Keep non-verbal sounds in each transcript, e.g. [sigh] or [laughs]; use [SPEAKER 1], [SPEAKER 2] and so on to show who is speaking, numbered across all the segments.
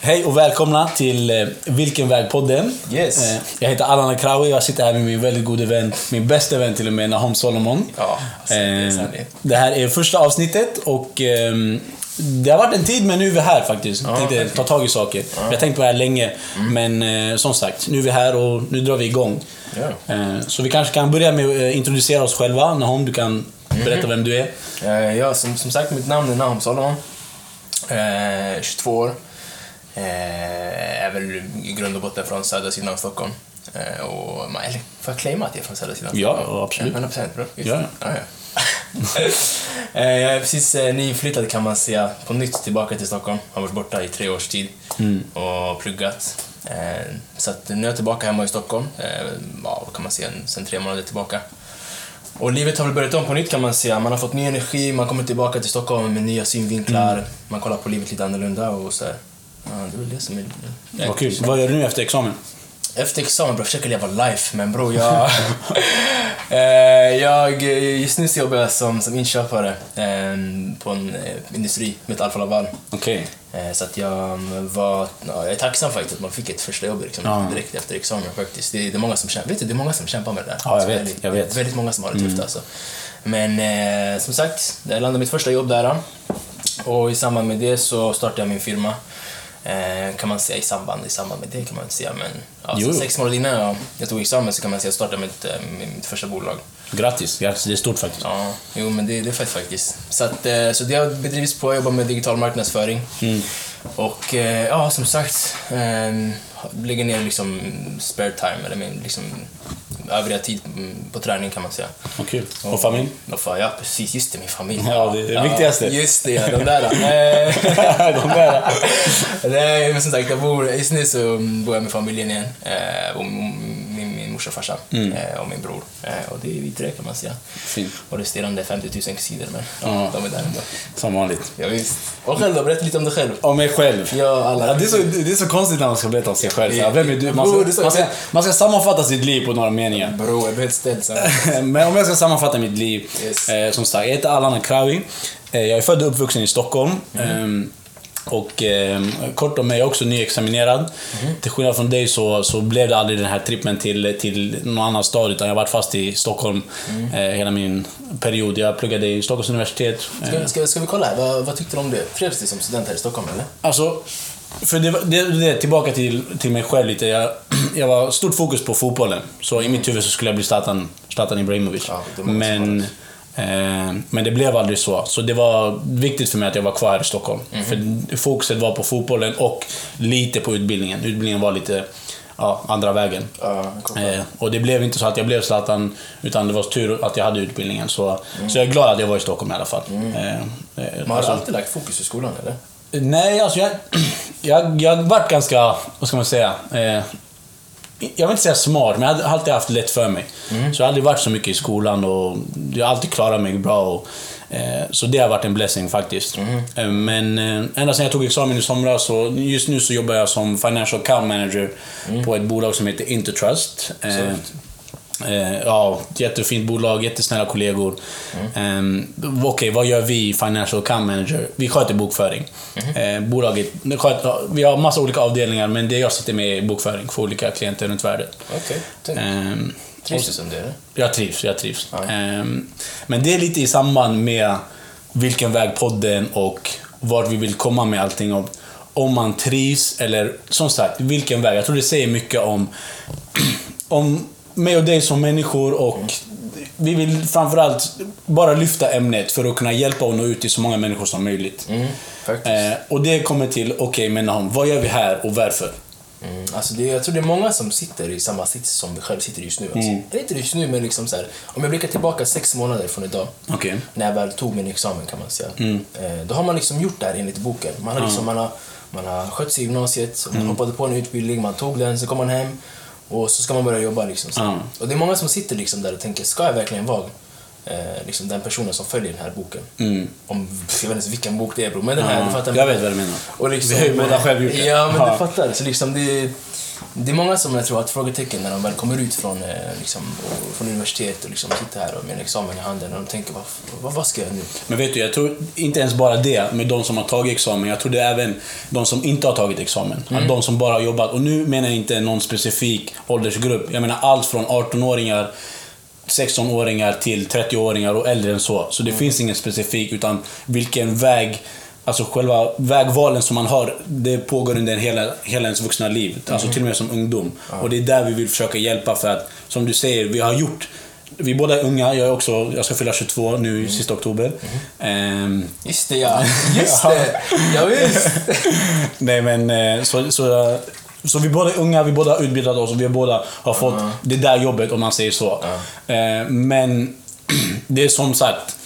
[SPEAKER 1] Hej och välkomna till eh, Vilken väg-podden.
[SPEAKER 2] Yes.
[SPEAKER 1] Eh, Jag heter Allan Akraoui och jag sitter här med min väldigt goda vän, min bästa vän till och med, Nahom Solomon.
[SPEAKER 2] Ja, alltså, det är
[SPEAKER 1] Eh,
[SPEAKER 2] sanning.
[SPEAKER 1] det här är första avsnittet och ehm, det har varit en tid men nu är vi här faktiskt. Jag tänkte ta tag i saker. Jag har tänkt på det här länge
[SPEAKER 2] Mm.
[SPEAKER 1] men eh, som sagt, nu är vi här och nu drar vi igång.
[SPEAKER 2] Ja.
[SPEAKER 1] Eh, Så vi kanske kan börja med att eh, introducera oss själva. Nahom, du kan
[SPEAKER 2] Mhm.
[SPEAKER 1] berätta vem du är.
[SPEAKER 2] Eh, ja, som, som sagt, mitt namn är Nahum Solomon. Eh, 22 år. Eh, är väl i grund och botten från södra sidan av Stockholm. Eh, och, man- eller, får jag claima att jag är från södra sidan? av
[SPEAKER 1] Ja,
[SPEAKER 2] Stockholm?
[SPEAKER 1] absolut.
[SPEAKER 2] 100 procent, bro. Just
[SPEAKER 1] Ja.
[SPEAKER 2] det. Ah, Ja, [laughs] ja. eh, jag är precis eh, nyinflyttad kan man säga, på nytt tillbaka till Stockholm. Har varit borta i tre års tid
[SPEAKER 1] Mm.
[SPEAKER 2] och pluggat. Eh, så att nu är jag tillbaka hemma i Stockholm, eh, ja, vad kan man säga, en- sen tre månader tillbaka. Och livet har väl börjat om på nytt kan man säga. Man har fått ny energi, man kommer tillbaka till Stockholm med nya synvinklar. Man kollar på livet lite annorlunda och så här. Ja, det är väl det som är...
[SPEAKER 1] Vad kul. Vad gör du nu efter examen?
[SPEAKER 2] Efter examen bror, försöker leva life men bror jag... [laughs] eh, jag... Just nu så jobbar jag som, som inköpare eh, på en eh, industri, Metall Laval.
[SPEAKER 1] Okej.
[SPEAKER 2] Eh, så att jag var... Ja, jag är tacksam faktiskt att man fick ett första jobb liksom,
[SPEAKER 1] Ja.
[SPEAKER 2] direkt efter examen faktiskt. Det, är- det är många som kämpar, vet du, det är många som kämpar med det där.
[SPEAKER 1] Ja, jag vet,
[SPEAKER 2] Väldigt-
[SPEAKER 1] jag vet. Mm.
[SPEAKER 2] Väldigt många som har det tufft alltså. Men eh, som sagt, jag landade mitt första jobb där. då. Och i samband med det så startade jag min firma. Eh, kan man säga i samband, i samband med det kan man inte säga men... Ja,
[SPEAKER 1] Jo.
[SPEAKER 2] så sex månader innan jag, jag tog examen så kan man säga jag startade mitt, eh, mitt första bolag.
[SPEAKER 1] Grattis. Grattis. Det är stort faktiskt.
[SPEAKER 2] Ja, jo men det, det är fett faktiskt. Så, att, eh, så det har bedrivits på, jag jobbar med digital marknadsföring.
[SPEAKER 1] Mm.
[SPEAKER 2] Och eh, ja, som sagt, eh, lägger ner liksom spare time, eller min liksom övriga tid mm, på träning kan man säga.
[SPEAKER 1] Vad kul. Och familj?
[SPEAKER 2] Och fan, ja precis, just det, min familj.
[SPEAKER 1] Ja, det är det viktigaste.
[SPEAKER 2] Just det, ja, de där. eh.
[SPEAKER 1] [laughs]
[SPEAKER 2] [laughs]
[SPEAKER 1] De där.
[SPEAKER 2] Nej, men som sagt, jag bor, just nu så bor jag med familjen igen. Eh, och min, min, min morsa och farsa
[SPEAKER 1] Mm.
[SPEAKER 2] eh, och min bror. Eh, och det är vi tre kan man säga.
[SPEAKER 1] Fint.
[SPEAKER 2] Och resterande är 50 000 sidor, men
[SPEAKER 1] Ja.
[SPEAKER 2] ja, de är där ändå.
[SPEAKER 1] Som vanligt.
[SPEAKER 2] Ja, visst. Och själv då, berätta lite om dig själv.
[SPEAKER 1] Om mig själv.
[SPEAKER 2] Ja, alla.
[SPEAKER 1] Ja, det, är så, det är så konstigt när man ska berätta om sig själv. Så här, vem är du? Man
[SPEAKER 2] Jo, det är
[SPEAKER 1] ska,
[SPEAKER 2] så.
[SPEAKER 1] man, ska, man ska sammanfatta sitt liv på några [laughs] meningar.
[SPEAKER 2] Bro, jag blir helt ställd så.
[SPEAKER 1] Men om jag ska sammanfatta mitt liv.
[SPEAKER 2] Yes.
[SPEAKER 1] Eh, som sagt, jag heter Allan Akrawi. Eh, jag är född och uppvuxen i Stockholm. Ehm, och eh, kort om mig, jag är också nyexaminerad. Till skillnad från dig så, så blev det aldrig den här trippen till, till någon annan stad utan jag har varit fast i Stockholm eh, hela min period. Jag pluggade i Stockholms universitet. eh,
[SPEAKER 2] Ska, ska, ska vi kolla här, vad, vad tyckte du om det? Trivs du som student här i Stockholm eller?
[SPEAKER 1] Alltså, för det, var- det, det tillbaka till, till mig själv lite. Jag, [clears throat] jag var stort fokus på fotbollen. Så i mitt huvud så skulle jag bli Zlatan, Zlatan Ibrahimovic.
[SPEAKER 2] Ja, det var det
[SPEAKER 1] men, eh, men det blev aldrig så. Så det var viktigt för mig att jag var kvar här i Stockholm.
[SPEAKER 2] Mhm.
[SPEAKER 1] För fokuset var på fotbollen och lite på utbildningen. Utbildningen var lite ja, andra vägen.
[SPEAKER 2] Ja, jag kopplar.
[SPEAKER 1] Eh, och det blev inte så att jag blev Zlatan, utan det var tur att jag hade utbildningen. Så, så jag är glad att jag var i Stockholm i alla fall. Eh, eh,
[SPEAKER 2] Man Mm. har
[SPEAKER 1] alltså-
[SPEAKER 2] alltid lagt fokus i skolan eller?
[SPEAKER 1] Nej, alltså jag, [clears throat] jag, jag har varit ganska, vad ska man säga, eh, jag vill inte säga smart, men jag har alltid haft lätt för mig. Så jag har aldrig varit så mycket i skolan och jag har alltid klarat mig bra. Och, eh, så det har varit en blessing faktiskt. Eh, men eh, ända sedan jag tog examen i somras, så just nu så jobbar jag som financial account manager på ett bolag som heter Intertrust. Eh, Eh, ja, ett jättefint bolag, jättesnälla kollegor. Eh, Okej, vad gör vi Financial Account Manager? Vi sköter bokföring. Eh, bolaget det sköter, vi har massa olika avdelningar, men det jag sitter med är bokföring för olika klienter runt värdet.
[SPEAKER 2] Okej, Eh, okay.
[SPEAKER 1] Ehm,
[SPEAKER 2] Trivs du som det eller?
[SPEAKER 1] jag trivs, jag trivs.
[SPEAKER 2] Ja.
[SPEAKER 1] Ehm, men det är lite i samband med vilken väg podden och vart vi vill komma med allting. Om, om man trivs eller som sagt, vilken väg. Jag tror det säger mycket om, [clears throat] om mig och dig som människor och vi vill framförallt bara lyfta ämnet för att kunna hjälpa och nå ut till så många människor som möjligt.
[SPEAKER 2] Faktiskt.
[SPEAKER 1] Eh, och det kommer till, okej men Nahum, vad gör vi här och varför?
[SPEAKER 2] Mm, alltså det, jag tror det är många som sitter i samma sits som vi själv sitter i just nu. Alltså. Eller inte just nu, men liksom så här, om jag blickar tillbaka sex månader från idag,
[SPEAKER 1] Okej.
[SPEAKER 2] när jag väl tog min examen kan man säga.
[SPEAKER 1] Mm.
[SPEAKER 2] Eh, då har man liksom gjort det här enligt boken. Man har, liksom, man har, man har skött sig i gymnasiet,
[SPEAKER 1] Mm.
[SPEAKER 2] man hoppade på en utbildning, man tog den, så kom man hem och så ska man börja jobba. Liksom, så.
[SPEAKER 1] Ja.
[SPEAKER 2] Och det är många som sitter liksom där och tänker, ska jag verkligen vara eh, liksom den personen som följer den här boken? Om, jag vet inte ens vilken bok det är bror, men den här, du fattar.
[SPEAKER 1] jag Mm. vet vad du menar.
[SPEAKER 2] Och liksom,
[SPEAKER 1] Vi har ju båda själv gjort det.
[SPEAKER 2] Ja, men
[SPEAKER 1] Ja.
[SPEAKER 2] du fattar. Så liksom det, Det är många som jag tror har ett frågetecken när de väl kommer ut från, eh, liksom, från universitet och liksom sitter här och med en examen i handen och de tänker vad, vad, vad ska jag nu?
[SPEAKER 1] Men vet du, jag tror inte ens bara det med de som har tagit examen. Jag tror det är även de som inte har tagit examen. Att de som bara har jobbat. Och nu menar jag inte någon specifik åldersgrupp. Jag menar allt från 18-åringar, 16-åringar till 30-åringar och äldre än så. Så det finns ingen specifik, utan vilken väg Alltså själva vägvalen som man har, det pågår under hela, hela ens vuxna liv. Alltså till och med som ungdom. Och det är där vi vill försöka hjälpa för att, som du säger, vi har gjort vi båda är unga, jag, är också, jag ska fylla 22 nu i sista oktober. Ehm,
[SPEAKER 2] Just det
[SPEAKER 1] [laughs]
[SPEAKER 2] ja, just det! ja, visst.
[SPEAKER 1] nej men, eh, så, så, så vi båda är unga, vi båda har utbildat oss och vi båda har fått det där jobbet om man säger så. Eh, men [clears throat] det är som sagt,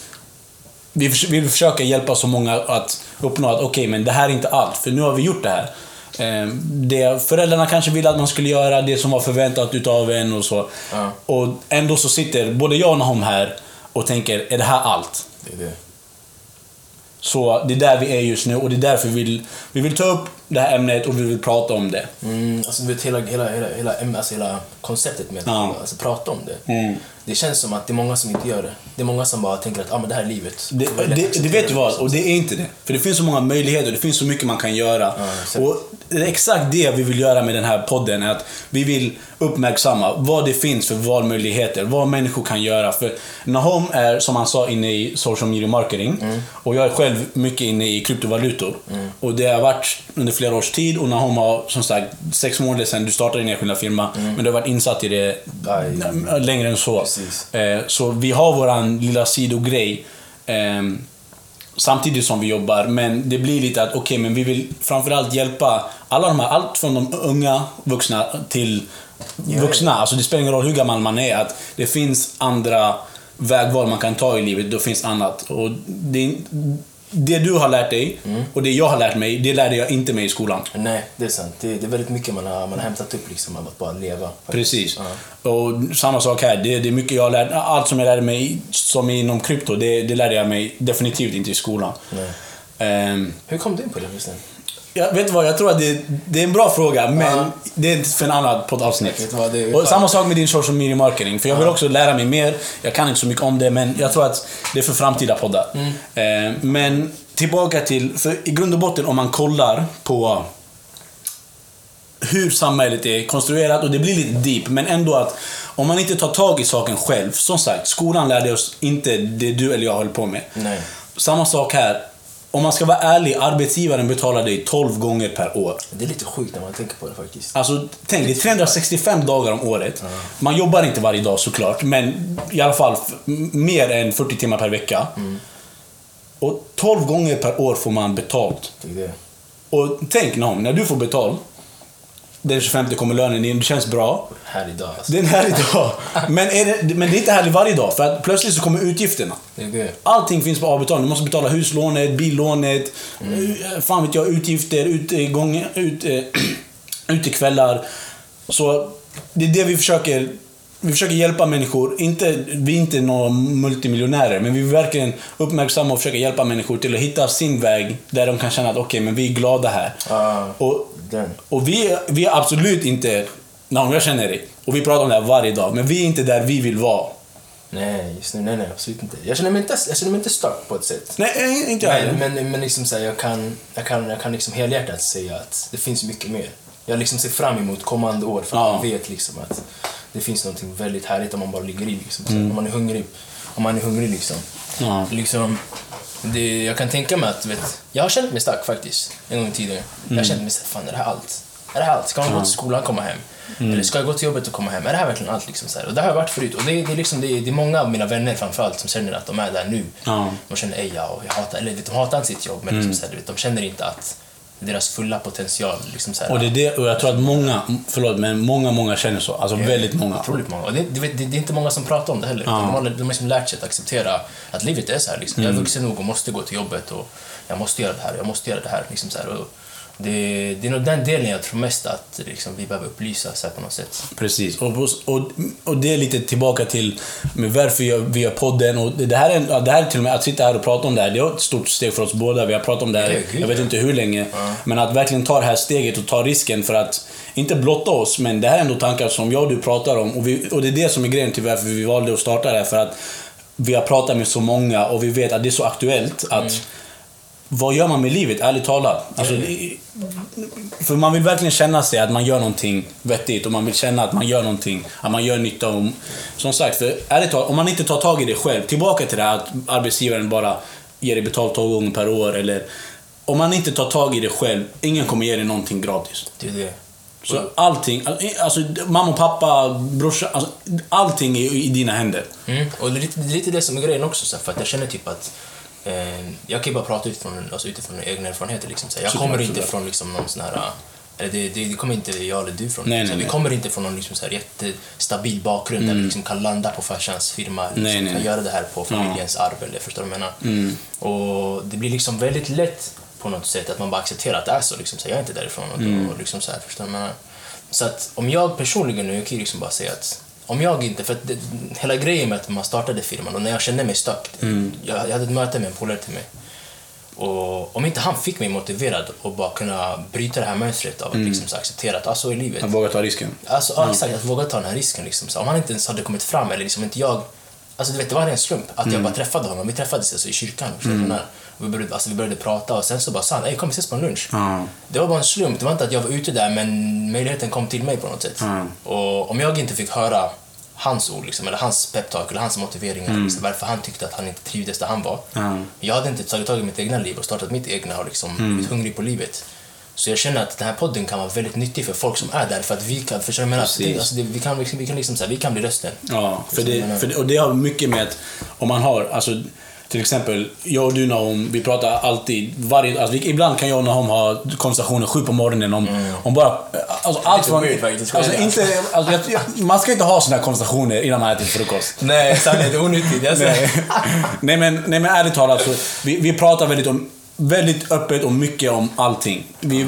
[SPEAKER 1] vi förs- vill försöka hjälpa så många att uppnå att okej, men det här är inte allt, för nu har vi gjort det här. Eh, Det föräldrarna kanske ville att man skulle göra, det som var förväntat utav en och så.
[SPEAKER 2] Ja.
[SPEAKER 1] Och ändå så sitter både jag och Nahom här och tänker, är det här allt?
[SPEAKER 2] Det är det.
[SPEAKER 1] Så det är där vi är just nu och det är därför vi vill, vi vill ta upp det här ämnet och vi vill prata om det.
[SPEAKER 2] Mm, alltså du vet hela, hela, hela, hela, äm- alltså, hela konceptet med att
[SPEAKER 1] Ja. Mm.
[SPEAKER 2] alltså, prata om det. Det känns som att det är många som inte gör det. Det är många som bara tänker att ah, men det här är livet.
[SPEAKER 1] Det,
[SPEAKER 2] Och väljer att
[SPEAKER 1] det, det
[SPEAKER 2] acceptera
[SPEAKER 1] vet du vad, och det är inte det. För det finns så många möjligheter, det finns så mycket man kan göra.
[SPEAKER 2] exakt.
[SPEAKER 1] och det är exakt det vi vill göra med den här podden, är att vi vill uppmärksamma vad det finns för valmöjligheter, vad människor kan göra. För Nahom är, som han sa, inne i social media marketing.
[SPEAKER 2] Mm.
[SPEAKER 1] Och jag är själv mycket inne i kryptovalutor. Och det har varit under flera års tid och Nahom har, som sagt, sex månader sedan du startade din enskilda firma,
[SPEAKER 2] Mm.
[SPEAKER 1] men du har varit insatt i det
[SPEAKER 2] Aj.
[SPEAKER 1] Äh, längre än så.
[SPEAKER 2] Precis.
[SPEAKER 1] Eh, Så vi har våran lilla sidogrej ehm, samtidigt som vi jobbar. Men det blir lite att, okej, men vi vill framförallt hjälpa alla de här, allt från de unga vuxna till vuxna. Alltså det spelar ingen roll hur gammal man är, att det finns andra vägval man kan ta i livet. Det finns annat. Och det, det du har lärt dig och det jag har lärt mig, det lärde jag inte mig i skolan.
[SPEAKER 2] Nej, det är sant. Det, det är väldigt mycket man har, man har hämtat upp liksom, av att bara leva.
[SPEAKER 1] Precis. Och samma sak här. Det, det är mycket jag lärde, allt som jag lärde mig som är inom krypto, det, det lärde jag mig definitivt inte i skolan.
[SPEAKER 2] Nej.
[SPEAKER 1] Ehm,
[SPEAKER 2] Hur kom du in på det förresten?
[SPEAKER 1] jag vet du vad, jag tror att det, det är en bra fråga, men
[SPEAKER 2] Ja.
[SPEAKER 1] det är för en annan poddavsnitt.
[SPEAKER 2] Vet du vad, det är-
[SPEAKER 1] och samma sak med din social media marketing, för jag vill också lära mig mer. Jag kan inte så mycket om det, men jag tror att det är för framtida poddar.
[SPEAKER 2] Mm.
[SPEAKER 1] Ehm, men tillbaka till, för i grund och botten om man kollar på hur samhället är konstruerat och det blir lite deep men ändå att om man inte tar tag i saken själv. Som sagt, skolan lärde oss inte det du eller jag höll på med.
[SPEAKER 2] Nej.
[SPEAKER 1] Samma sak här. Om man ska vara ärlig, arbetsgivaren betalar dig 12 gånger per år.
[SPEAKER 2] Det är lite sjukt när man tänker på det faktiskt.
[SPEAKER 1] Alltså, tänk, det är 365 dagar om året. Man jobbar inte varje dag såklart, men i alla fall f- m- mer än 40 timmar per vecka. Och 12 gånger per år får man betalt.
[SPEAKER 2] Det är det.
[SPEAKER 1] Och tänk någon, när du får betalt, den 25 kommer lönen in, det känns bra.
[SPEAKER 2] Här idag alltså.
[SPEAKER 1] Det är en härlig dag. Men, är det, men det är inte härligt varje dag, för att plötsligt så kommer utgifterna.
[SPEAKER 2] Det är det.
[SPEAKER 1] Allting finns på avbetalning. Du måste betala huslånet, billånet, eh, fan vet jag, utgifter, utegång, ut, eh, [clears throat] utekvällar. Så det är det vi försöker. Vi försöker hjälpa människor. Inte, vi är inte några multimiljonärer, men vi vill verkligen uppmärksamma och försöka hjälpa människor till att hitta sin väg där de kan känna att okej, men vi är glada här.
[SPEAKER 2] Ja.
[SPEAKER 1] Och
[SPEAKER 2] Den.
[SPEAKER 1] och vi, är- vi är absolut inte, no, jag känner dig, och vi pratar om det här varje dag, men vi är inte där vi vill vara.
[SPEAKER 2] Nej, just nu, nej, nej, absolut inte. Jag känner mig inte, jag känner mig inte stark på ett sätt.
[SPEAKER 1] Nej, eh, inte jag
[SPEAKER 2] Men,
[SPEAKER 1] heller.
[SPEAKER 2] men, men liksom så här, jag kan, jag kan, jag kan liksom helhjärtat säga att det finns mycket mer. Jag liksom ser fram emot kommande år för att
[SPEAKER 1] Ja.
[SPEAKER 2] jag vet liksom att det finns någonting väldigt härligt om man bara ligger i. Liksom. Så här, Om man är hungrig. Om man är hungrig liksom.
[SPEAKER 1] Ja.
[SPEAKER 2] liksom det, jag kan tänka mig att, vet, jag har känt mig stark faktiskt en gång i tiden. Jag har
[SPEAKER 1] Mm.
[SPEAKER 2] känt mig såhär, fan är det här allt? Är det här allt? Ska man gå till skolan och komma hem?
[SPEAKER 1] Mm.
[SPEAKER 2] Eller ska jag gå till jobbet och komma hem? Är det här verkligen allt? Liksom, så här? Och det har jag varit förut. Och det, är- det, är liksom, det, är, det är många av mina vänner framförallt som känner att de är där nu.
[SPEAKER 1] Ja. Mm.
[SPEAKER 2] De känner ej, ja, och jag hatar, eller vet, de hatar inte sitt jobb men liksom, så här, du vet, de känner inte att deras fulla potential liksom så här,
[SPEAKER 1] Och det är det, och jag tror att många, förlåt, men många, många känner så. Alltså väldigt många.
[SPEAKER 2] Otroligt många. Och det, du vet, det, det är inte många som pratar om det heller. De har, de har liksom lärt sig att acceptera att livet är så här. Liksom.
[SPEAKER 1] Mm.
[SPEAKER 2] Jag är vuxen nog och måste gå till jobbet och jag måste göra det här och jag måste göra det här. Liksom så här. Och det, det är nog den delen jag tror mest att liksom, vi behöver upplysa så här, på något sätt.
[SPEAKER 1] Precis. Och, och, och det är lite tillbaka till med varför jag, vi gör podden. Och det, här är, ja, det här är till och med, att sitta här och prata om det här, det är ett stort steg för oss båda. Vi har pratat om det här,
[SPEAKER 2] Ja, gud,
[SPEAKER 1] jag vet
[SPEAKER 2] ja.
[SPEAKER 1] inte hur länge. Men att verkligen ta det här steget och ta risken för att, inte blotta oss, men det här är ändå tankar som jag och du pratar om. Och, vi, och det är det som är grejen till varför vi valde att starta det här. För att vi har pratat med så många och vi vet att det är så aktuellt. att
[SPEAKER 2] Mm.
[SPEAKER 1] Vad gör man med livet, ärligt talat? Alltså, det- För man vill verkligen känna sig att man gör någonting vettigt och man vill känna att man gör någonting, att man gör nytta. Och, som sagt, för ärligt talat, om man inte tar tag i det själv, tillbaka till det här att arbetsgivaren bara ger dig betalt två gånger per år. Eller, om man inte tar tag i det själv, ingen kommer ge dig någonting gratis.
[SPEAKER 2] Det är det.
[SPEAKER 1] Så allting, alltså mamma och pappa, brorsan, alltså, allting är ju i dina händer.
[SPEAKER 2] Mm. Och det är lite, det är lite det som är grejen också, så här, för att jag känner typ att eh, jag kan ju bara prata utifrån, alltså, utifrån mina egna erfarenheter. Liksom, så här. Jag
[SPEAKER 1] Såklart,
[SPEAKER 2] kommer inte
[SPEAKER 1] såklart.
[SPEAKER 2] från liksom, någon sån här... eh, Eller det, det, det kommer inte jag eller du från.
[SPEAKER 1] Nej,
[SPEAKER 2] liksom.
[SPEAKER 1] nej,
[SPEAKER 2] vi
[SPEAKER 1] nej.
[SPEAKER 2] kommer inte från någon liksom, så här, jättestabil bakgrund där vi liksom, kan landa på farsans firma. Liksom,
[SPEAKER 1] Nej, nej,
[SPEAKER 2] Kan
[SPEAKER 1] nej.
[SPEAKER 2] göra det här på familjens arv, eller förstår du vad jag menar? Och det blir liksom väldigt lätt på något sätt att man bara accepterar att det är så. Liksom, så här, jag är inte därifrån. Och, och, liksom, så här, förstår du vad jag menar? Så att om jag personligen nu, jag kan ju liksom bara säga att om jag inte, för att det, hela grejen med att man startade firman och när jag kände mig stuck, jag, jag hade ett möte med en polare till mig och om inte han fick mig motiverad och bara kunna bryta det här mönstret av att liksom så här acceptera att ah, så är livet.
[SPEAKER 1] Att våga ta risken.
[SPEAKER 2] Alltså, ja, exakt, att våga ta den här risken. Liksom. Så om han inte ens hade kommit fram, eller liksom inte jag... Alltså, du vet, det var en ren slump att jag bara träffade honom. Vi träffades alltså, i kyrkan. Mm. Vi, började, alltså, vi började prata och sen så bara sa han, "Ey, kom vi ses på en lunch.
[SPEAKER 1] Ja.
[SPEAKER 2] Det var bara en slump. Det var inte att jag var ute där, men möjligheten kom till mig på något sätt.
[SPEAKER 1] Mm.
[SPEAKER 2] Och om jag inte fick höra hans ord, liksom, eller hans peptalk, eller hans motiveringar, liksom, varför han tyckte att han inte trivdes där han var.
[SPEAKER 1] Mm.
[SPEAKER 2] Jag hade inte tagit tag i mitt egna liv och startat mitt egna och liksom blivit hungrig på livet. Så jag känner att den här podden kan vara väldigt nyttig för folk som är där, för att vi kan, förstår du vad jag menar?
[SPEAKER 1] Precis.
[SPEAKER 2] Det- Alltså, det, vi kan, liksom, vi kan liksom, så här, vi kan bli rösten.
[SPEAKER 1] Ja, för
[SPEAKER 2] Som menar-
[SPEAKER 1] det, för det, och det har mycket med att om man har, alltså till exempel, jag och du Nahum, vi pratar alltid, varje, alltså, vi, ibland kan jag och Nahum ha konversationer sju på morgonen om, om bara, alltså allt
[SPEAKER 2] Mm. Lite
[SPEAKER 1] från,
[SPEAKER 2] weird faktiskt,
[SPEAKER 1] alltså,
[SPEAKER 2] skulle jag
[SPEAKER 1] inte, alltså, jag, jag, man ska inte ha sådana konversationer innan man äter frukost.
[SPEAKER 2] Nej, sanningen, det är onyttigt. Alltså.
[SPEAKER 1] nej, nej, men, nej men ärligt talat, så, vi, vi pratar väldigt, om, väldigt öppet och mycket om allting. Vi är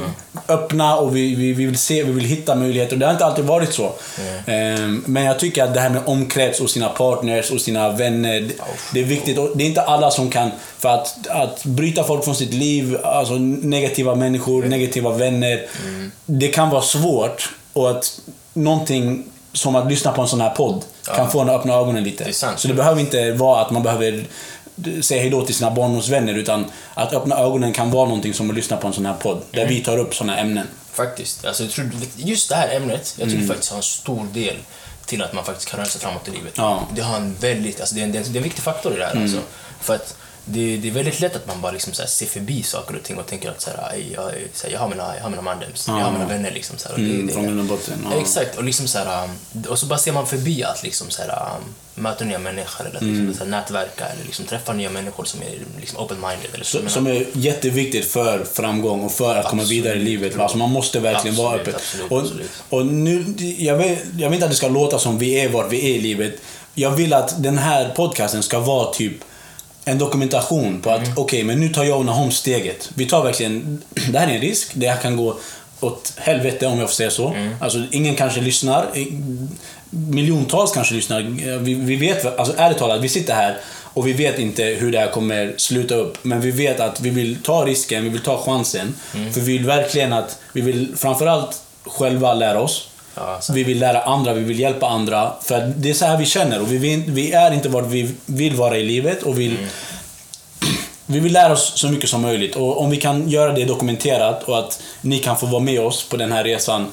[SPEAKER 1] öppna och vi, vi, vi vill se, vi vill hitta möjligheter. Det har inte alltid varit så. Ehm, men jag tycker att det här med omkrets och sina partners och sina vänner, det, det är viktigt. Och det är inte alla som kan, för att, att bryta folk från sitt liv, alltså negativa människor, negativa vänner, det kan vara svårt. Och att någonting som att lyssna på en sån här podd kan få en att öppna ögonen lite.
[SPEAKER 2] Det är sant.
[SPEAKER 1] Så det behöver inte vara att man behöver säga hejdå till sina barndomsvänner utan att öppna ögonen kan vara någonting som att lyssna på en sån här podd där
[SPEAKER 2] Mm.
[SPEAKER 1] vi tar upp såna ämnen.
[SPEAKER 2] Faktiskt. Alltså, jag tror, just det här ämnet, jag tror
[SPEAKER 1] Mm.
[SPEAKER 2] det faktiskt har en stor del till att man faktiskt kan röra sig framåt i livet.
[SPEAKER 1] Ja. Mm.
[SPEAKER 2] Det, har en väldigt, alltså, det, är en, det är en viktig faktor i det här. Alltså, för att det, det är väldigt lätt att man bara liksom, så här, ser förbi saker och ting och tänker att så här, "Aj, jag, är- så här, jag har mina, jag har mina mandems, jag har mina vänner. Liksom, så här, och det-
[SPEAKER 1] Mm,
[SPEAKER 2] det-
[SPEAKER 1] från grund och botten. Ja.
[SPEAKER 2] Exakt, och, liksom så här, um, och så bara ser man förbi att liksom så här, um, möta nya människor eller att liksom
[SPEAKER 1] Mm.
[SPEAKER 2] så här, nätverka eller liksom träffa nya människor som är liksom open-minded. Eller så,
[SPEAKER 1] Så- Som är jätteviktigt för framgång och för att komma
[SPEAKER 2] Absolut,
[SPEAKER 1] vidare i livet. Alltså man måste verkligen vara
[SPEAKER 2] Absolut,
[SPEAKER 1] öppen.
[SPEAKER 2] absolut,
[SPEAKER 1] och,
[SPEAKER 2] absolut.
[SPEAKER 1] och nu, jag, vill, jag vill inte att det ska låta som vi är var vi är i livet. Jag vill att den här podcasten ska vara typ en dokumentation på att okej, men nu tar jag och Nahom steget. Vi tar verkligen, [clears throat] det här är en risk, det här kan gå åt helvete om jag får säga så. Alltså ingen kanske lyssnar. I- Miljontals kanske lyssnar. Vi, vi vet, alltså ärligt talat, vi sitter här och vi vet inte hur det här kommer sluta upp. Men vi vet att vi vill ta risken, vi vill ta chansen. För vi vill verkligen att, vi vill framförallt själva lära oss.
[SPEAKER 2] Ja, alltså. så-
[SPEAKER 1] Vi vill lära andra, vi vill hjälpa andra. För att det är så här vi känner och vi, vill, vi är inte vad vi vill vara i livet och vill, vi vill lära oss så mycket som möjligt. Och om vi kan göra det dokumenterat och att ni kan få vara med oss på den här resan.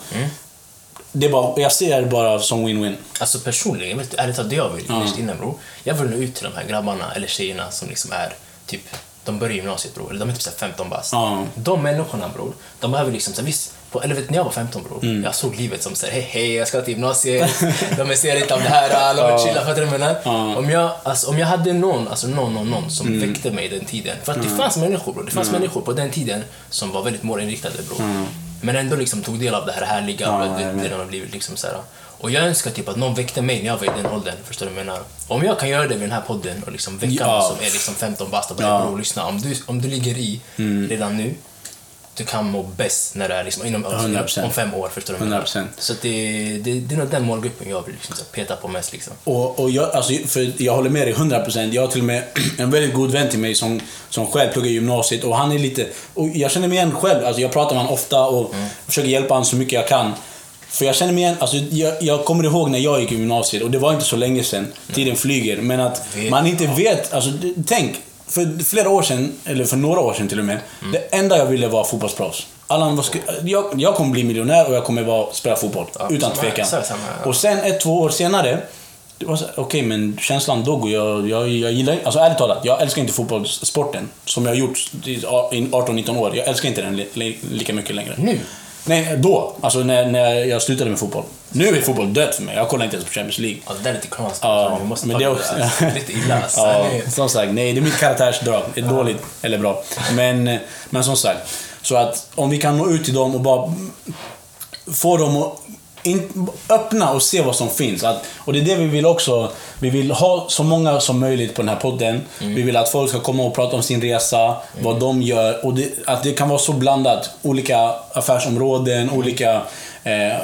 [SPEAKER 1] Det är bara, jag ser det bara som win-win.
[SPEAKER 2] Alltså personligen, vet du, ärligt talat, det jag vill innerst inne bro. Jag vill nå ut till de här grabbarna eller tjejerna som liksom är typ, de börjar gymnasiet bror, eller de är typ så här 15 bast.
[SPEAKER 1] Ja.
[SPEAKER 2] De människorna bror, de behöver liksom, så här, visst, på, eller vet ni, när jag var 15 bror,
[SPEAKER 1] Mm.
[SPEAKER 2] jag såg livet som såhär, hej hej, jag ska till
[SPEAKER 1] [laughs]
[SPEAKER 2] gymnasiet, de är seriösa av det här, de vill chilla, fattar du vad jag menar?
[SPEAKER 1] Ja. Mm.
[SPEAKER 2] Om, jag, alltså, om jag hade någon, alltså någon, någon, någon som väckte mig den tiden, för att det fanns människor bror, det fanns människor på den tiden som var väldigt målinriktade bror. Men ändå liksom tog del av det här härliga,
[SPEAKER 1] Ja,
[SPEAKER 2] och
[SPEAKER 1] jag
[SPEAKER 2] det,
[SPEAKER 1] vet.
[SPEAKER 2] det de har blivit liksom så här. Och jag önskar typ att någon väckte mig när jag var i den åldern, förstår du vad jag menar? Om jag kan göra det vid den här podden och liksom väcka
[SPEAKER 1] Ja.
[SPEAKER 2] någon som är liksom 15 bast och bara
[SPEAKER 1] Ja. Mm.
[SPEAKER 2] bror lyssna, om du, om du ligger i redan nu du kan må bäst när det är liksom inom alltså,
[SPEAKER 1] 100%.
[SPEAKER 2] om fem år. Förstår du?
[SPEAKER 1] 100%.
[SPEAKER 2] Så att det, det, det är nog den målgruppen jag vill liksom, så här, peta på mest. Liksom.
[SPEAKER 1] Och, och jag, alltså, för jag håller med dig 100%. Jag har till och med [clears throat] en väldigt god vän till mig som, som själv pluggar i gymnasiet och han är lite... Och jag känner mig igen själv. Alltså, jag pratar med honom ofta och
[SPEAKER 2] Mm.
[SPEAKER 1] försöker hjälpa honom så mycket jag kan. För jag känner mig igen, alltså, jag, jag kommer ihåg när jag gick i gymnasiet och det var inte så länge sedan. Tiden flyger. Men att
[SPEAKER 2] Mm. Vet-
[SPEAKER 1] man inte vet, alltså d- tänk. För flera år sedan, eller för några år sedan till och med.
[SPEAKER 2] Mm.
[SPEAKER 1] Det enda jag ville var fotbollsproffs. Allan, vad ska, jag, jag kommer bli miljonär och jag kommer vara, spela fotboll.
[SPEAKER 2] Ja,
[SPEAKER 1] utan
[SPEAKER 2] samma här,
[SPEAKER 1] tvekan.
[SPEAKER 2] så är det samma här.
[SPEAKER 1] Och och sen ett, två år senare, det var så här, okej men känslan dog och jag, jag, jag gillar alltså ärligt talat, jag älskar inte fotbollssporten som jag har gjort i 18-19 år. Jag älskar inte den li, li, lika mycket längre.
[SPEAKER 2] Nu?
[SPEAKER 1] Nej, då. Alltså när, när jag slutade med fotboll. Nu är fotboll dött för mig, jag kollar inte ens på Champions League.
[SPEAKER 2] Ja, det där är lite konstigt. Alltså,
[SPEAKER 1] Ja,
[SPEAKER 2] vi måste ta
[SPEAKER 1] men det
[SPEAKER 2] det
[SPEAKER 1] är
[SPEAKER 2] där.
[SPEAKER 1] också-
[SPEAKER 2] Det är lite illa. alltså.
[SPEAKER 1] [laughs] Ja,
[SPEAKER 2] Nej.
[SPEAKER 1] som sagt, nej det är mitt karaktärsdrag. Det är dåligt eller bra. Men, men som sagt, så att om vi kan nå ut till dem och bara få dem att in, öppna och se vad som finns. Att, och det är det vi vill också. Vi vill ha så många som möjligt på den här podden. Vi vill att folk ska komma och prata om sin resa, vad de gör. Och det, att det kan vara så blandat. Olika affärsområden, olika... Eh,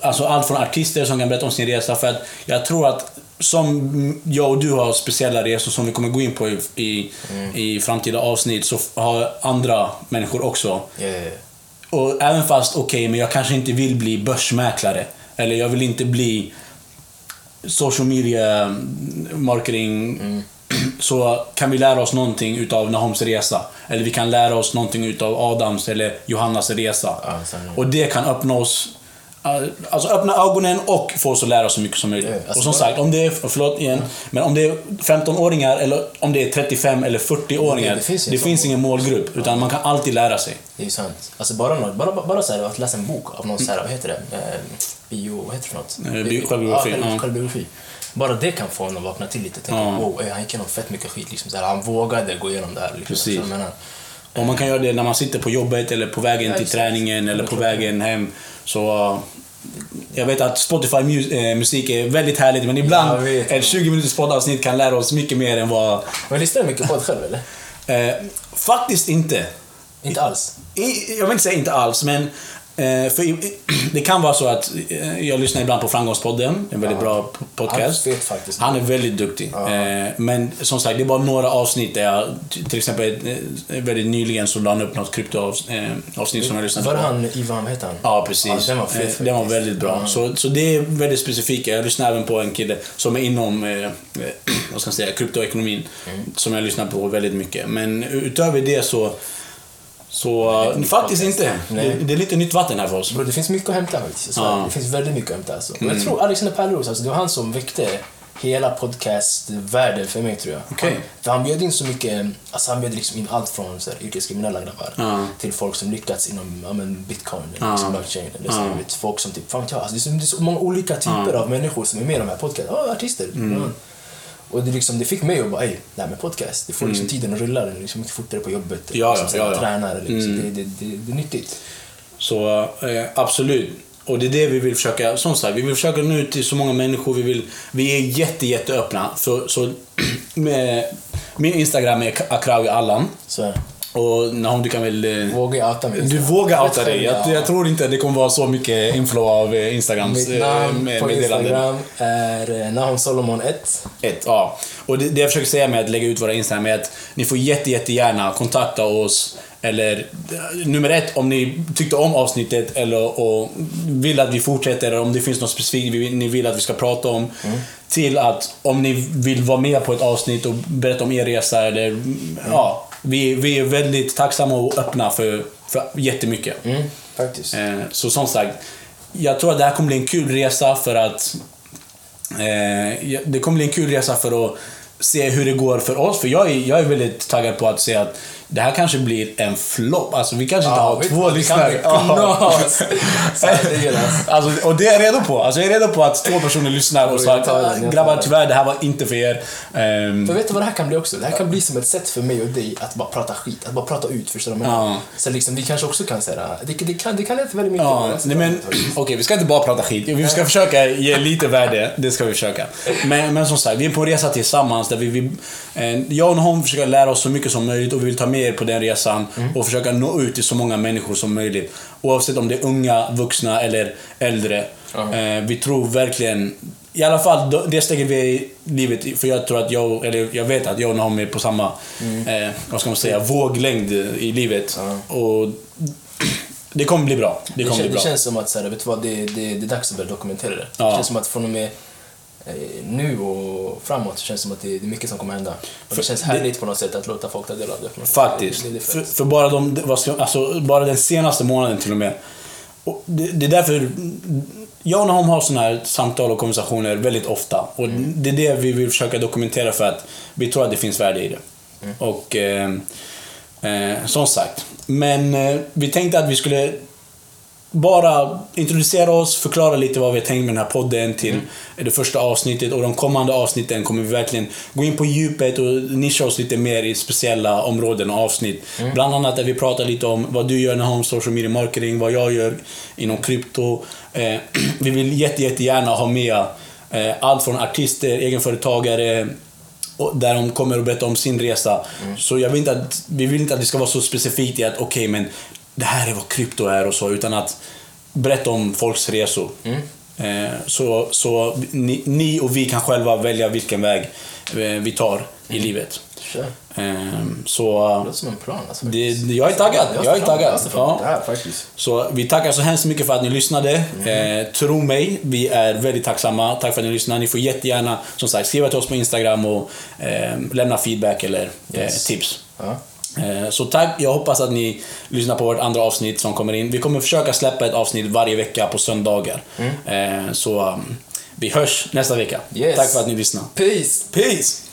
[SPEAKER 1] alltså allt från artister som kan berätta om sin resa. För att jag tror att som jag och du har speciella resor som vi kommer gå in på i, i, i framtida avsnitt så har andra människor också
[SPEAKER 2] Ja, ja, ja.
[SPEAKER 1] och även fast, okej, men jag kanske inte vill bli börsmäklare. Eller jag vill inte bli social media mm, marketing.
[SPEAKER 2] Mm.
[SPEAKER 1] Så kan vi lära oss någonting utav Nahoms resa. Eller vi kan lära oss någonting utav Adams eller Johannas resa.
[SPEAKER 2] Ja, sen-
[SPEAKER 1] och det kan öppna oss eh, Alltså öppna ögonen och få oss att lära oss så mycket som möjligt.
[SPEAKER 2] Ja, alltså-
[SPEAKER 1] och som sagt, om det är, förlåt igen, men om det är 15-åringar eller om det är 35 eller 40-åringar.
[SPEAKER 2] Det
[SPEAKER 1] Det
[SPEAKER 2] finns
[SPEAKER 1] finns,
[SPEAKER 2] ju en sån.
[SPEAKER 1] ingen målgrupp, utan man kan alltid lära sig.
[SPEAKER 2] Det är ju sant. Alltså bara, något, bara, bara så här, att läsa en bok av någon så här, vad heter det? Eh, bio, vad heter det för något?
[SPEAKER 1] Eh, bio- självbiografi,
[SPEAKER 2] Ja, själv-
[SPEAKER 1] ja.
[SPEAKER 2] självbiografi. Bara det kan få en att vakna till lite och tänka,
[SPEAKER 1] Ja.
[SPEAKER 2] wow, eh, han gick igenom fett mycket skit. Liksom, så här, han vågade gå igenom det här. Liksom,
[SPEAKER 1] Precis.
[SPEAKER 2] Så jag menar,
[SPEAKER 1] Och man kan göra det när man sitter på jobbet eller på vägen
[SPEAKER 2] Ja,
[SPEAKER 1] till
[SPEAKER 2] exakt.
[SPEAKER 1] träningen eller på
[SPEAKER 2] Klart.
[SPEAKER 1] vägen hem. Så eh, jag vet att Spotify mu- eh, musik är väldigt härligt men
[SPEAKER 2] Jag
[SPEAKER 1] ibland
[SPEAKER 2] vet.
[SPEAKER 1] ett 20 minuters poddavsnitt kan lära oss mycket mer än vad...
[SPEAKER 2] men lyssnar du mycket på det själv eller?
[SPEAKER 1] Eh, faktiskt inte.
[SPEAKER 2] Inte alls?
[SPEAKER 1] I, jag vill inte säga inte alls men eh, för i, i, [clears throat] det kan vara så att eh, jag lyssnar ibland på Framgångspodden, en väldigt bra p- podcast.
[SPEAKER 2] Han vet faktiskt.
[SPEAKER 1] Han är väldigt duktig.
[SPEAKER 2] Ja.
[SPEAKER 1] Eh, men som sagt, det är bara några avsnitt där jag, t- till exempel eh, väldigt nyligen så la han upp något kryptoavsnitt eh, avsnitt som jag lyssnade
[SPEAKER 2] Var
[SPEAKER 1] på.
[SPEAKER 2] det han Ivan, vad heter han?
[SPEAKER 1] Ja, precis.
[SPEAKER 2] Ja, den var
[SPEAKER 1] Eh,
[SPEAKER 2] fet faktiskt.
[SPEAKER 1] den var väldigt bra.
[SPEAKER 2] Ja.
[SPEAKER 1] Så, så det är väldigt specifika. Jag lyssnar även på en kille som är inom eh, [clears throat] eh, vad ska jag säga, kryptoekonomin.
[SPEAKER 2] Mm.
[SPEAKER 1] Som jag lyssnar på väldigt mycket. Men utöver det så... Så eh,
[SPEAKER 2] nytt
[SPEAKER 1] faktiskt
[SPEAKER 2] vatten.
[SPEAKER 1] inte.
[SPEAKER 2] Nej.
[SPEAKER 1] Det, det är lite nytt vatten här för oss.
[SPEAKER 2] Bro, det finns mycket att hämta faktiskt. Så
[SPEAKER 1] Ja. Mm.
[SPEAKER 2] Det finns väldigt mycket att hämta. Alltså. Och Jag tror Alexander Pärleros, alltså, det var han som väckte hela podcastvärlden för mig tror jag.
[SPEAKER 1] Okej.
[SPEAKER 2] Han, för han bjöd in så mycket, alltså han bjöd liksom in allt från så här, yrkeskriminella grabbar
[SPEAKER 1] Ja.
[SPEAKER 2] till folk som lyckats inom ja, men, bitcoin eller
[SPEAKER 1] Ja.
[SPEAKER 2] liksom, blockchain. Eller, så,
[SPEAKER 1] Ja.
[SPEAKER 2] du vet, folk som typ, fan vet jag, alltså, det, är så, det är så många olika typer av människor som är med i de här podcasten. Ja, artister.
[SPEAKER 1] Mm.
[SPEAKER 2] Ja. Och det, liksom, det fick mig att bara, ej, det här med podcast, det får liksom tiden att rulla, det är liksom mycket fortare på jobbet.
[SPEAKER 1] Mm. Ja,
[SPEAKER 2] liksom,
[SPEAKER 1] ja,
[SPEAKER 2] så här,
[SPEAKER 1] ja, Mm. ja.
[SPEAKER 2] Tränar, eller liksom, det, det, det, det är nyttigt.
[SPEAKER 1] Så eh, absolut. Och det är det vi vill försöka, som sagt, vi vill försöka nå ut till så många människor vi vill. Vi är jätte, jätteöppna. Så, så [clears throat] med, min Instagram är akrawi allan.
[SPEAKER 2] Så här.
[SPEAKER 1] Och Nahom, du kan väl... eh,
[SPEAKER 2] Vågar jag outa mig?
[SPEAKER 1] Du vågar outa dig. Jag, jag tror inte det kommer vara så mycket inflow av eh, Instagrams
[SPEAKER 2] Mitt
[SPEAKER 1] eh,
[SPEAKER 2] namn
[SPEAKER 1] med-
[SPEAKER 2] på
[SPEAKER 1] meddelanden.
[SPEAKER 2] Instagram är eh, Nahum Solomon 1.
[SPEAKER 1] Ett, ja. Och det, det jag försöker säga med att lägga ut våra Instagram är att ni får jätte, jättegärna kontakta oss. Eller eh, nummer ett, om ni tyckte om avsnittet eller och vill att vi fortsätter eller om det finns något specifikt vi- ni vill att vi ska prata om. Till att om ni vill vara med på ett avsnitt och berätta om er resa eller ja. Vi, vi är väldigt tacksamma och öppna för, för jättemycket.
[SPEAKER 2] Mm, faktiskt.
[SPEAKER 1] Eh, Så som sagt, jag tror att det här kommer bli en kul resa för att... Eh, jag- det kommer bli en kul resa för att se hur det går för oss. För jag är, jag är väldigt taggad på att se att det här kanske blir en flopp. Alltså vi kanske inte
[SPEAKER 2] Ja,
[SPEAKER 1] har
[SPEAKER 2] vi-
[SPEAKER 1] två
[SPEAKER 2] det kan
[SPEAKER 1] lyssnare.
[SPEAKER 2] bli knas. [laughs] Så här, det gör det.
[SPEAKER 1] alltså, och det är jag redo på. Alltså, jag är redo på att två personer lyssnar och
[SPEAKER 2] Oj,
[SPEAKER 1] så
[SPEAKER 2] jag tar den, jag tar
[SPEAKER 1] att grabbar
[SPEAKER 2] den."
[SPEAKER 1] tyvärr det här var inte för er. Ehm,
[SPEAKER 2] Men vet du vad det här kan bli också? Det här kan bli som ett sätt för mig och dig att bara prata skit, att bara prata ut, förstår du vad jag menar?
[SPEAKER 1] Ja.
[SPEAKER 2] Så liksom, vi kanske också kan säga, det, det kan, det kan leda till väldigt mycket.
[SPEAKER 1] Ja, nej men okej, vi ska inte bara prata skit. Vi ska försöka ge lite värde, det ska vi försöka. Men, men som sagt, vi är på en resa tillsammans där vi, vi eh, jag och hon försöker lära oss så mycket som möjligt och vi vill ta med med er på den resan
[SPEAKER 2] Mm.
[SPEAKER 1] och försöka nå ut till så många människor som möjligt. Oavsett om det är unga, vuxna eller äldre.
[SPEAKER 2] Ja.
[SPEAKER 1] Eh, vi tror verkligen, i alla fall då- det steget vi är i livet, i, för jag tror att jag, eller jag vet att jag och Naomi är på samma,
[SPEAKER 2] Mm.
[SPEAKER 1] eh, vad ska man säga, våglängd i livet. Och det kommer bli bra. Det
[SPEAKER 2] Det,
[SPEAKER 1] kommer
[SPEAKER 2] kän,
[SPEAKER 1] bli
[SPEAKER 2] det
[SPEAKER 1] bra.
[SPEAKER 2] känns som att så här, vet du vad, det, det, det är dags att börja dokumentera det.
[SPEAKER 1] Ja.
[SPEAKER 2] Det känns som att från och med eh, nu och framåt så känns det som att det, det är mycket som kommer hända. Och det känns härligt på något sätt att låta folk ta del av det. på något sätt.
[SPEAKER 1] Faktiskt.
[SPEAKER 2] Det, det, är
[SPEAKER 1] För,
[SPEAKER 2] fett.
[SPEAKER 1] för bara, de, vad ska, alltså, bara den senaste månaden till och med. Och det, det är därför jag och Nahom har sådana här samtal och konversationer väldigt ofta. Och
[SPEAKER 2] Mm.
[SPEAKER 1] Det är det vi vill försöka dokumentera för att vi tror att det finns värde i det.
[SPEAKER 2] Mm.
[SPEAKER 1] Och eh, eh, som sagt. Men eh, vi tänkte att vi skulle bara introducera oss, förklara lite vad vi har tänkt med den här podden till det första avsnittet och de kommande avsnitten kommer vi verkligen gå in på djupet och nischa oss lite mer i speciella områden och avsnitt. Bland annat där vi pratar lite om vad du gör när home social media marketing, vad jag gör inom krypto. Eh, [clears throat] vi vill jätte, jättegärna ha med eh, allt från artister, egenföretagare, och där de kommer och berättar om sin resa. Så jag vill inte att, vi vill inte att det ska vara så specifikt i att okej, men det här är vad krypto är och så, utan att berätta om folks resor. Eh, Så, så ni, ni och vi kan själva välja vilken väg eh, vi tar i livet.
[SPEAKER 2] Kör. Det
[SPEAKER 1] Eh, Så
[SPEAKER 2] låter som en plan alltså.
[SPEAKER 1] det, jag är taggad. Jag är taggad.
[SPEAKER 2] Ja.
[SPEAKER 1] Ja.
[SPEAKER 2] Det här faktiskt.
[SPEAKER 1] Så vi tackar så hemskt mycket för att ni lyssnade.
[SPEAKER 2] Mm.
[SPEAKER 1] Eh, tro mig, vi är väldigt tacksamma. Tack för att ni lyssnade. Ni får jättegärna som sagt, skriva till oss på Instagram och eh, lämna feedback eller
[SPEAKER 2] Yes.
[SPEAKER 1] eh, tips.
[SPEAKER 2] Ja.
[SPEAKER 1] Eh, Så tack, jag hoppas att ni lyssnar på vårt andra avsnitt som kommer in. Vi kommer försöka släppa ett avsnitt varje vecka på söndagar. Eh, Så um, vi hörs nästa vecka.
[SPEAKER 2] Mm. Yes.
[SPEAKER 1] Tack för att ni lyssnade.
[SPEAKER 2] Peace!
[SPEAKER 1] Peace!